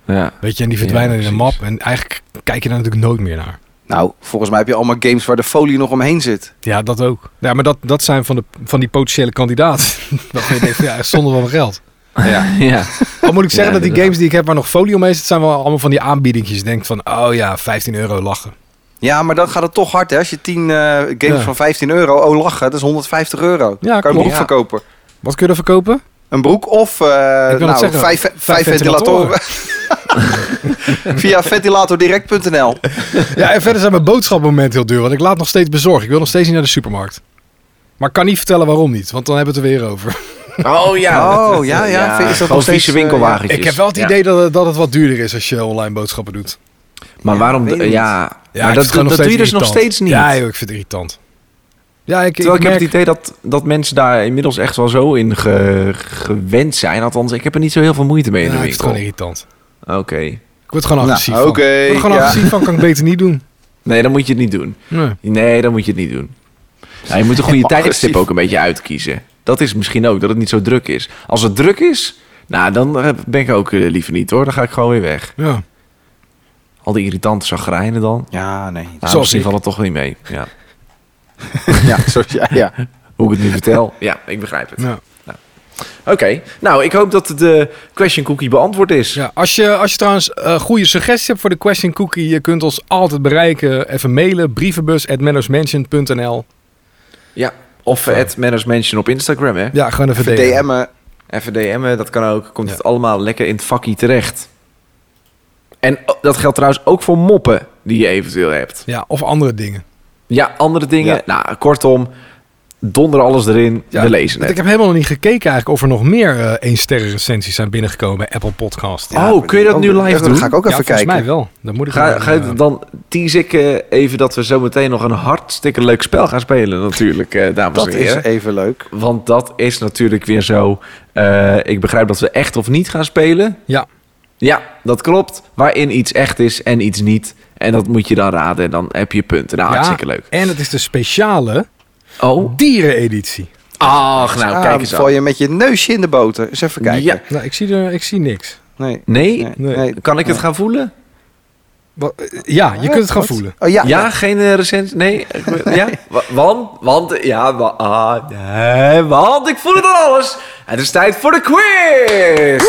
Ja.
Weet je, en die verdwijnen in een map. En eigenlijk kijk je daar natuurlijk nooit meer naar.
Nou, volgens mij heb je allemaal games waar de folie nog omheen zit.
Ja, dat ook. Ja, maar dat, dat zijn van, de, van die potentiële kandidaat. [LAUGHS] dat je denkt, van, ja, zonder van mijn geld.
Ja.
[LAUGHS] ja.
Al moet ik zeggen
Ja,
dat die
inderdaad.
games die ik heb waar nog folie omheen zit, zijn wel allemaal van die aanbiedingjes. Je denkt van, oh ja, 15 euro lachen.
ja, maar dan gaat het toch hard, hè. Als je 10 eh, games
Ja.
van 15 euro... Oh, lachen, dat is 150 euro.
Ja,
kan je
klopt.
een broek
Ja.
verkopen.
Wat kun je er verkopen?
Een broek of eh,
het
nou,
zeggen.
vijf, vijf, ventilatoren. [LAUGHS] Via ventilatordirect.nl.
Ja, en verder zijn mijn boodschapmoment heel duur, want ik laat nog steeds bezorgen. Ik wil nog steeds niet naar de supermarkt. Maar ik kan niet vertellen waarom niet, want dan hebben we het er weer over.
Oh ja.
Oh, ja, ja. Vind- is dat nog
Gewoon
steeds,
vieze
eh,
winkelwagentjes.
Ik heb wel het
Ja.
idee dat, het- dat het wat duurder is als je online boodschappen doet.
Maar waarom...
weet ik
Ja,
niet.
ja.
ik
maar
vind het
dat,
gewoon
dat
nog
doe je
steeds
dus nog
irritant.
steeds niet.
Ja, joh, ik vind het irritant. Ja, ik,
Terwijl ik,
merk-
heb het idee dat, dat mensen daar inmiddels echt wel zo in ge- gewend zijn. Althans, ik heb er niet zo heel veel moeite mee in
Ja,
de
ik vind het
winkel.
gewoon
Oké.
irritant. Ik word er gewoon
Nou,
agressief
Oké.
van. Ik word er gewoon
ja.
agressief van, kan ik beter niet doen.
Nee, dan moet je het niet doen.
Nee.
Nee, dan moet je het niet doen. Ja, je moet een
[LAUGHS]
goede
Agressief.
tijdstip ook een beetje uitkiezen. Dat is misschien ook, dat het niet zo druk is. Als het druk is, nou, dan eh, ben ik ook eh, liever niet hoor. Dan ga ik gewoon weer weg.
Ja.
Al die irritante zagrijnen dan.
Ja, nee.
Nou,
Zoals
misschien
ik.
valt het toch niet mee. Ja.
[LAUGHS] Ja, sorry, ja,
[LAUGHS]
ja.
Hoe ik het nu vertel. Ja, ik begrijp het.
Ja.
Oké, nou, ik hoop dat de question cookie beantwoord is.
Ja, als, je, als je trouwens eh, goede suggesties hebt voor de Question Cookie, je kunt ons altijd bereiken. Even mailen, brievenbus.mennosmansion.nl.
Ja. Of at Manners Mansion op Instagram, hè?
Ja, gewoon even DM'en.
DM'en.
Even DM'en, dat kan ook. Komt
Ja.
het allemaal lekker in het vakkie terecht. En oh, dat geldt trouwens ook voor moppen die je eventueel hebt.
Ja, of andere dingen.
Ja, andere dingen. Nou, kortom, donder alles erin.
Ja,
we lezen
Want
het.
Ik heb helemaal nog niet gekeken eigenlijk of er nog meer eh één sterren recensies zijn binnengekomen bij Apple Podcast.
Ja, Oh, kun je dat nu live
Ja,
doen?
Dan Nou, ga ik ook
Ja,
even
volgens
kijken.
mij wel. Dan moet ik
Ga,
wel,
ga,
eh,
dan tease ik eh, even dat we zo meteen nog een hartstikke leuk spel gaan spelen natuurlijk, eh, dames
Dat
en heren.
is even leuk.
Want dat is natuurlijk weer zo. eh, ik begrijp dat we echt of niet gaan spelen.
Ja.
Ja, dat klopt. Waarin iets echt is en iets niet. En dat moet je dan raden. En dan heb je punten. Nou,
ja,
hartstikke leuk.
En het is de speciale
Oh.
diereneditie.
Ach, nou,
Ah,
kijk eens
val
aan.
je met je neusje in de boter. Eens even kijken.
Ja.
Nou, ik zie, er, ik zie niks.
Nee.
Nee?
Nee.
Nee.
nee.
Kan ik het gaan voelen?
Wat- eh, ja, je kunt het gaan voelen.
Oh ja.
Ja, geen eh, recensie?
[LAUGHS]
Nee? ja? Wa- Want? Want? eh, Ja, wa- ah, nee, want ik voel het aan alles. Het is tijd voor de quiz.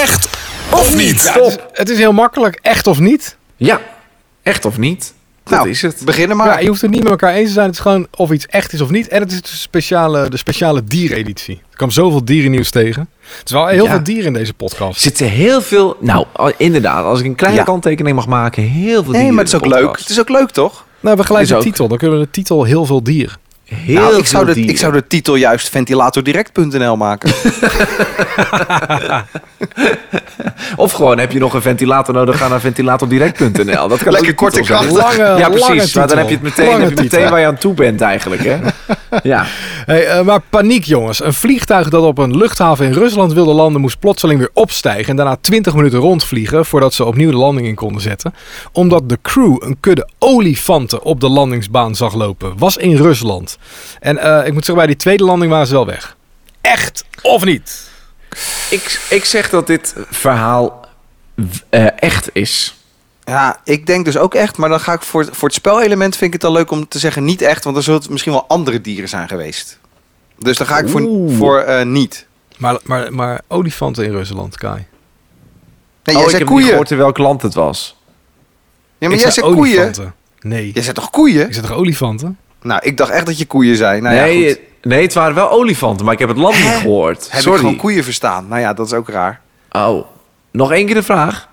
Echt of niet?
Ja, het, is, het is heel makkelijk, echt of niet.
Ja, echt of niet? Dat
Nou,
is het.
Beginnen maar.
Ja, je hoeft het niet met elkaar eens te zijn. Het is gewoon of iets echt is of niet. En het is de speciale, de speciale diereneditie. Er kwam zoveel dierennieuws tegen. Het is wel heel
Ja.
veel dieren in deze podcast.
Er zitten heel veel... Nou, al- inderdaad. Als ik een kleine
Ja.
kanttekening mag maken, heel veel
Nee,
dieren
maar het is
in de
ook leuk.
podcast.
Het is ook leuk, toch?
Nou, we gelijk
Is
de
ook.
titel. Dan kunnen we de titel heel veel dieren.
Heel
Nou,
veel
ik, zou de,
dieren.
ik zou de titel juist ventilatordirect.nl maken.
Of gewoon, heb je nog een ventilator nodig, ga naar ventilatordirect.nl. Dat kan
Lekker
ook een
korte
titel zijn.
kracht. Lange-
ja,
lange
precies. Maar
titel.
dan heb je het meteen,
Lange
heb je meteen
titel.
waar je aan toe bent eigenlijk,
[LAUGHS]
hè? ja.
Hey, eh, maar paniek jongens. Een vliegtuig dat op een luchthaven in Rusland wilde landen moest plotseling weer opstijgen en daarna 20 minuten rondvliegen voordat ze opnieuw de landing in konden zetten. Omdat de crew een kudde olifanten op de landingsbaan zag lopen. Was in Rusland. En eh, ik moet zeggen, bij die tweede landing waren ze wel weg. Echt of niet?
Ik, ik zeg dat dit verhaal eh, echt is.
Ja, ik denk dus ook echt. Maar dan ga ik voor, het- voor het spelelement vind ik het al leuk om te zeggen niet echt. Want dan zullen het misschien wel andere dieren zijn geweest. Dus dan ga ik voor,
Oeh.
voor eh, niet.
Maar, maar, maar olifanten in Rusland, Kai.
Nee,
oh, ik
jij zei
heb niet
koeien.
gehoord in welk land het was.
Ja, maar
Ik
jij
zei
zei koeien.
olifanten. Nee.
Jij zei toch koeien?
Ik zeg toch olifanten?
Nou, ik dacht echt dat je koeien zei. Nou,
nee,
ja, goed.
eh, nee, het waren wel olifanten, maar ik heb het land niet gehoord.
Heb
Sorry.
ik gewoon koeien verstaan? Nou ja, dat is ook raar.
Oh, nog één keer de vraag.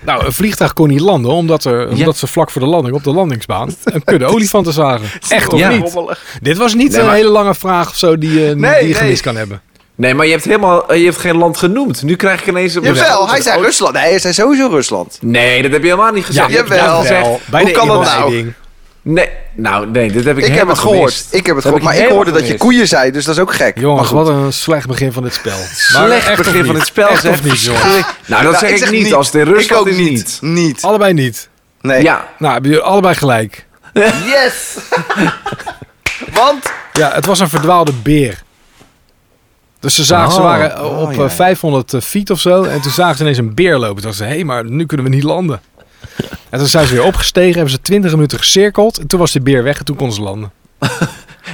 Nou, een vliegtuig kon niet landen omdat, er, omdat ze vlak voor de landing op de landingsbaan een kudde olifanten [LAUGHS] zagen. Echt of
Ja.
niet? Dit was niet
Nee,
een
maar-
hele lange vraag of zo die, je-
Nee,
die je gemist
nee.
kan hebben.
Nee, maar je hebt, helemaal, eh, je hebt geen land genoemd. Nu krijg ik ineens... een-
Jawel, hij zei Rusland. Nee, hij zei sowieso Rusland.
Nee, dat heb je helemaal niet gezegd.
Ja,
Je hebt
jawel.
net gezegd-
Hoe
Bij de
kan dat nou?
inleiding.
Nee, nou nee, dit heb ik
Ik, heb
helemaal
het gehoord.
gemist.
Ik heb het
Dat
gehoord.
heb
maar ik
helemaal
hoorde dat je
gemist.
koeien zei, dus dat is ook gek. maar
Jongens,
goed.
wat een slecht begin van dit spel.
[LAUGHS]
Maar
Slecht
echt of
begin van
niet?
het spel,
Echt
zeg.
of niet, jongens?
Verschrikkelijk. Nou, dat
Nou,
zeg ik,
zeg
niet. Als het in
Ik
Rusland
ook
is, niet.
niet. Niet.
Allebei niet.
Nee.
Ja,
Nou, hebben jullie allebei gelijk.
Yes! Want...
Ja, het was een verdwaalde beer. Dus ze, zagen, ze
Oh.
waren eh, op
Oh,
eh,
ja.
500 feet of zo. En toen zagen ze ineens een beer lopen. Toen dachten ze, hé, hey, maar nu kunnen we niet landen. En toen zijn ze weer opgestegen. Hebben ze 20 minuten gecirkeld. En toen was die beer weg en toen konden ze landen.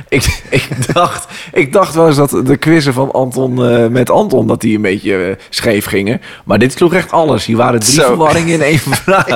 ik, ik, dacht, ik dacht wel eens dat de quizzen van Anton eh, met Anton dat die een beetje eh, scheef gingen. Maar dit sloeg echt alles. Hier waren drie
Zo.
verwarringen in
[LAUGHS]
één vraag.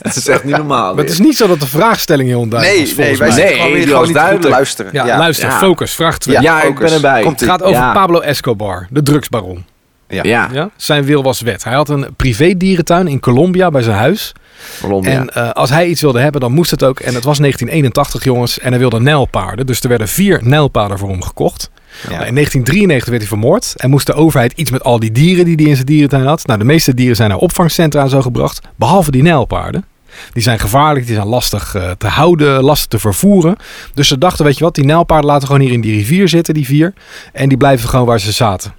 Dat is echt niet normaal.
Maar het is
dit.
niet zo dat de vraagstelling heel onduidelijk
Nee,
was,
nee,
volgens
wij
mij.
zitten
Nee,
gewoon
die
weer
was
gewoon niet goed te
duidelijk.
luisteren.
Ja, luister,
ja.
focus, vraag 2.
Ja, ik
focus.
ben erbij.
Komt-ie.
Het gaat over
Ja.
Pablo Escobar, de drugsbaron.
Ja.
Ja,
Ja? Zijn wil was wet. Hij had een privédierentuin in Colombia bij zijn huis.
Colombia.
En eh, als hij iets wilde hebben, dan moest het ook. En het was 1981, jongens. En hij wilde nijlpaarden. Dus er werden vier nijlpaarden voor hem gekocht. Nou, in 1993 werd hij vermoord. En moest de overheid iets met al die dieren die hij in zijn dierentuin had. Nou, de meeste dieren zijn naar opvangcentra en zo gebracht. Behalve die nijlpaarden. Die zijn gevaarlijk, die zijn lastig eh, te houden, lastig te vervoeren. Dus ze dachten, weet je wat, die nijlpaarden laten we gewoon hier in die rivier zitten, die vier. En die blijven gewoon waar ze zaten.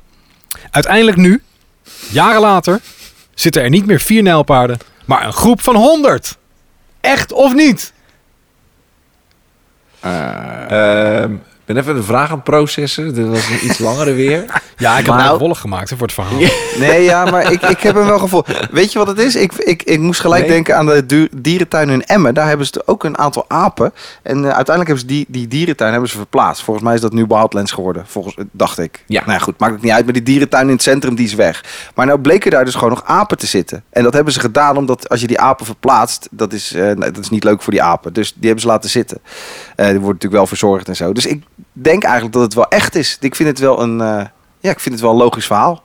Uiteindelijk nu, jaren later, zitten er niet meer vier nijlpaarden, maar een groep van honderd. Echt of niet?
Ehm, ik ben even de vraag aan het processen. Dit was een iets langere [LAUGHS] weer.
Ja, ik heb
Nou-
hem wollig gemaakt hè, voor het verhaal.
Nee, ja, maar ik, ik heb hem wel gevoel. Weet je wat het is? Ik, ik, ik moest gelijk
Nee.
denken aan de du- dierentuin in Emmen. Daar hebben ze ook een aantal apen. En eh, uiteindelijk hebben ze die, die dierentuin hebben ze verplaatst. Volgens mij is dat nu Wildlands geworden, volgens, dacht ik.
Ja.
Nou ja, goed, maakt het niet uit. Maar die dierentuin in het centrum, die is weg. Maar nou bleken daar dus gewoon nog apen te zitten. En dat hebben ze gedaan omdat als je die apen verplaatst, dat is, eh, nee, dat is niet leuk voor die apen. Dus die hebben ze laten zitten. Eh, die wordt natuurlijk wel verzorgd en zo. Dus ik denk eigenlijk dat het wel echt is. Ik vind het wel een, eh, ja, ik vind het wel een logisch verhaal.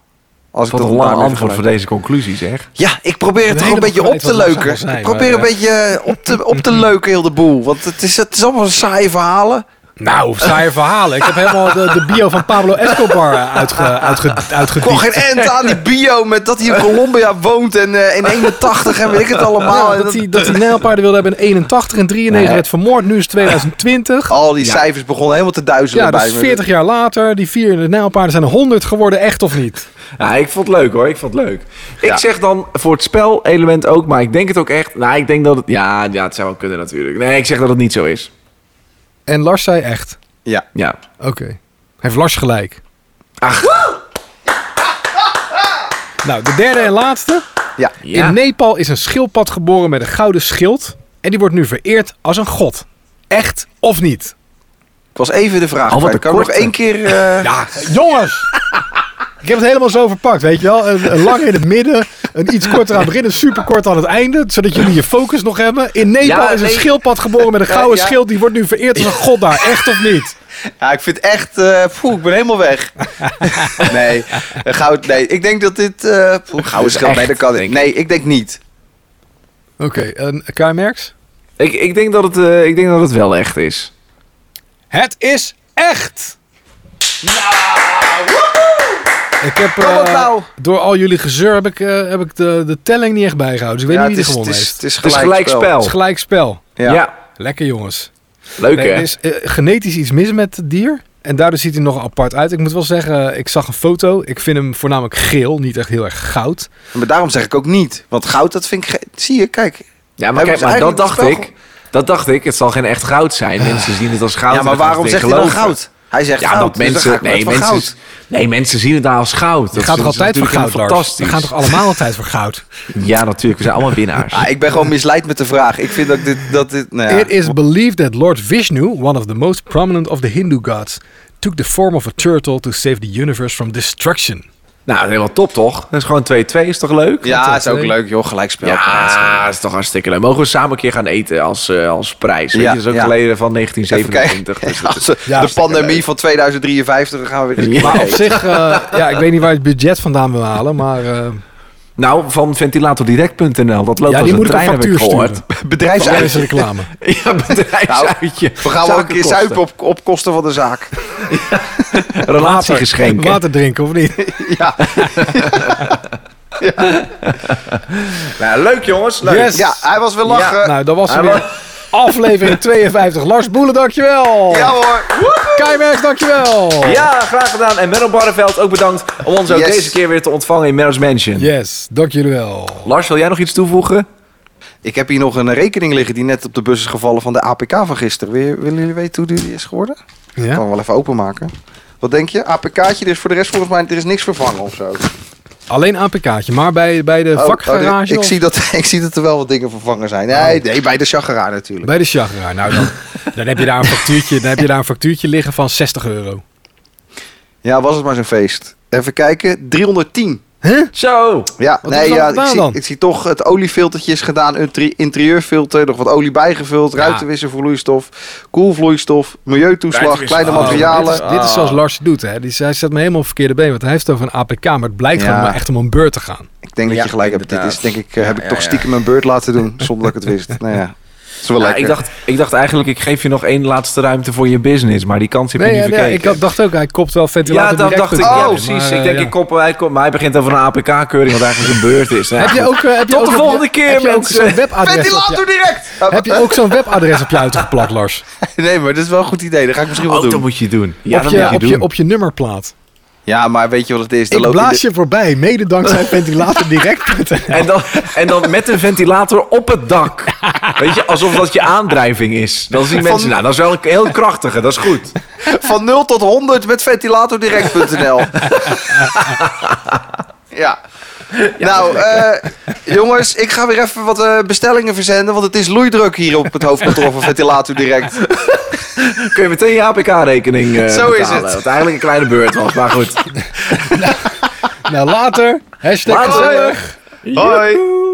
Als
Wat
dat
een
daarmee
lang antwoord
vergelijk.
voor deze conclusie, zeg.
Ja, ik probeer het
ben
toch een beetje
helemaal
op te
kwijt wat
leuken.
Marcel zei,
ik probeer
maar,
een beetje eh, op te, op te leuken, heel de boel. Want het is, het is allemaal saaie verhalen. [LAUGHS]
Nou, saaie verhalen. Ik heb helemaal de, de bio van Pablo Escobar eh, uitge, uitge,
Ik kon
uitgediept.
geen end aan die bio met dat hij in Colombia woont en eh, in 81 en weet ik het allemaal.
Ja,
En
dat,
dat-
die, dat die nijlpaarden wilden hebben in 81 en 93
Nee.
werd vermoord. Nu is het 2020.
Al die cijfers begonnen helemaal te duizelen
Ja, dat
bij
is
me.
40 jaar later. Die vier nijlpaarden zijn 100 geworden, echt of niet?
Ja, ik vond het leuk hoor. Ik vond het leuk. Ik zeg dan voor het spelelement ook, maar ik denk het ook echt. Nou, ik denk dat het. Ja, ja, het zou wel kunnen natuurlijk. Nee, ik zeg dat het niet zo is.
En Lars zei echt.
Ja.
Ja.
Oké. Heeft Lars gelijk.
Ach.
Nou, de derde en laatste.
ja.
Ja.
In Nepal is een schildpad geboren met een gouden schild. En die wordt nu vereerd als een god. Echt of niet?
Ik was even de vraag.
Al wat
kwijt.
een
kan ik nog
korte.
één keer... eh,
Ja, jongens!
[LAUGHS]
Ik heb het helemaal zo verpakt, weet je wel. Een, een lang in het midden, een iets korter aan het begin, een superkort aan het einde. Zodat jullie je focus nog hebben. In Nepal
Ja,
is een
nee.
schildpad geboren met een gouden
ja.
schild. Die wordt nu vereerd als een god daar. Echt of niet?
Ja, ik vind echt... eh poeh, ik ben helemaal
[LAUGHS]
weg. nee, eh, goud... Nee, ik denk dat dit... eh poeh, gouden schild, nee,
echt,
dat kan ik.
denk ik.
Nee, ik denk niet.
Oké, en K-merks?
Ik, ik, denk dat het, eh, ik denk dat het wel echt is.
Het is echt!
Nou,
Ik heb
Kom op
eh,
nou!
door al jullie gezeur heb ik, eh, heb ik de, de telling niet echt bijgehouden. Dus ik weet
Ja,
niet
het
wie
is-
er gewonnen
het is-
heeft.
Het is
Het is
gelijk,
gelijk spel.
Het is gelijk spel.
Ja.
Ja.
Lekker jongens.
Leuk
Nee,
hè?
er is eh, genetisch iets mis met het dier. En daardoor ziet hij nog apart uit. Ik moet wel zeggen, ik zag een foto. Ik vind hem voornamelijk geel, niet echt heel erg goud.
Maar daarom zeg ik ook niet. Want goud, dat vind ik... ge- Zie je, kijk.
Ja, maar
Hebben
kijk,
ze
maar dat
eigenlijk
dacht
het spel
ik. Dat dacht ik. Het zal geen echt goud zijn. Mensen zien het als goud.
ja,
en
maar
gaan
waarom
erin
zegt hij dan
geloven.
goud? Hij zegt
Ja,
goud.
omdat
dus dan
mensen,
ga ik maar
nee,
van
mensen,
goud.
nee, mensen zien het daar als goud.
Je
Dat
gaat
is- dat
toch
is
altijd voor goud,
natuurlijk helemaal
Lars? We
fantastisch.
gaan toch allemaal altijd voor
[LAUGHS]
goud?
Ja, natuurlijk. We zijn allemaal [LAUGHS] winnaars.
Ah, ik ben gewoon misleid met de vraag. Ik vind dat dit... Dat dit nou ja.
It is believed that Lord Vishnu, one of the most prominent of the Hindu gods, took the form of a turtle to save the universe from destruction.
Nou, helemaal top toch? Dat is gewoon 2-2. Is toch leuk? eh,
ja, is ook
twee.
leuk, joh. Gelijkspel.
Ja, dat is toch hartstikke leuk. Mogen we samen een keer gaan eten als, eh, als prijs? Weet
Ja,
je, dat is ook
ja.
geleden van
Even kijken.
1927. Dus dat
Als
is-
we-
Ja,
de pandemie van 2053 dan gaan we weer...
[LAUGHS] Ja.
Maar op zich, eh, ja, ik weet niet waar je het budget vandaan wil halen, maar eh
Nou, van ventilatordirect.nl. Dat loopt
ja,
als
die
een
moet ik een
trein, heb ik
factuur Nou,
gehoord.
sturen.
[LAUGHS]
Dat is
Bedrijfsuitje.
reclame.
Ja, bedrijfsuitje.
We gaan wel een
Zakenkosten.
keer zuipen op, op kosten van de zaak.
Relatiegeschenken.
Water drinken, of niet?
Nou, leuk jongens. Leuk.
Yes.
Ja, hij was weer lachen. Ja,
Nou, dat was hem
Hallo.
weer. [LAUGHS] Aflevering 52. Lars Boelen,
Oh.
dankjewel.
hoor. Woehoe.
Kai Merks, dankjewel.
Ja, graag gedaan. En Menno Barneveld ook bedankt om ons ook
Yes.
deze keer weer te ontvangen in Menno's Mansion.
Yes, dank jullie wel.
Lars, wil jij nog iets toevoegen?
Ik heb hier nog een rekening liggen die net op de bus is gevallen van de APK van gisteren. Wil je- Willen jullie weten hoe die is geworden? Ik kan
Ja?
hem wel even openmaken. Wat denk je? APK'tje, er is dus. voor de rest volgens mij er is niks vervangen of zo.
Alleen APK'tje, maar bij, bij de
Oh, oh,
vakgarage
ik,
of Oh.
zie dat, [LAUGHS] ik zie dat er wel wat dingen vervangen zijn. Nee, nee bij de Chagara natuurlijk.
bij de chagra. Nou, dan, [LAUGHS] dan, heb je daar een factuurtje, dan heb je daar een factuurtje liggen van 60 euro.
Ja, was het maar zo'n feest. Even kijken, 310.
Zo.
Ja,
Wat
nee,
hebben ze
ja ik,
dan gedaan
zie,
dan?
ik zie toch het oliefiltertje is gedaan, een tri- interieurfilter, nog wat olie bijgevuld, ruitenwisselvloeistof, koelvloeistof, milieutoeslag, kleine
Ruitenwissel.
Oh, Dit
materialen. Ah.
is, dit is zoals Lars het doet. Hè. Die, hij zet me helemaal op verkeerde been, want hij heeft het over een APK, maar het blijkt
Ja.
gewoon maar echt om een beurt te gaan.
Ik denk dat
Ja,
je gelijk hebt. Dit is
inderdaad.
denk ik, eh, heb ik
ja,
toch
ja.
stiekem mijn beurt laten doen, zonder dat ik het wist. Nou ja, is wel
Ja,
lekker.
ik, dacht, ik dacht eigenlijk, ik geef je nog één laatste ruimte voor je business. Maar die kans heb je
Nee,
niet
ja, ja,
verkeken.
ik had- dacht ook, hij kopt wel ventilator
ja, dat
direct
dacht ik.
erin,
ja,
maar,
precies.
eh,
ik denk,
ja.
ik kop hem, hij komt, maar hij begint over een APK-keuring, wat eigenlijk zijn beurt is. Nou,
Heb je
goed.
ook, eh, heb je
Tot
ook
de
op
volgende
je-
keer,
heb je ook
mensen.
zo'n webadres op
Ventilator
je-
direct!
Heb je ook zo'n webadres op je uitgeplakt, Lars?
Nee, maar dat is wel een goed idee. Dat ga ik misschien wel
Oh, dat
doen.
moet je doen. Ja,
op,
dat
je,
moet je
op,
doen.
je, op je nummerplaat.
Ja, maar weet je wat het is? Dan
Ik
loop je
blaas
de-
je voorbij, mede
[LAUGHS]
dankzij ventilator direct.
En, dan, en dan met een ventilator op het
[LAUGHS]
dak. Weet je, alsof dat je aandrijving is. Dan zien mensen, nou, dat is wel een heel krachtige, dat is goed.
van 0 tot 100 met
[LAUGHS]
ventilatordirect.nl. ja. nou, eh, jongens, ik ga weer even wat eh, bestellingen verzenden, want het is loeidruk hier op het hoofdkantoor van Ventilator Direct.
Kun je meteen je APK-rekening eh
Zo is
betalen,
het.
Wat eigenlijk een kleine beurt was, maar goed.
nou, later. Hashtag
Later.
gezellig.
Hoi.
Joehoe.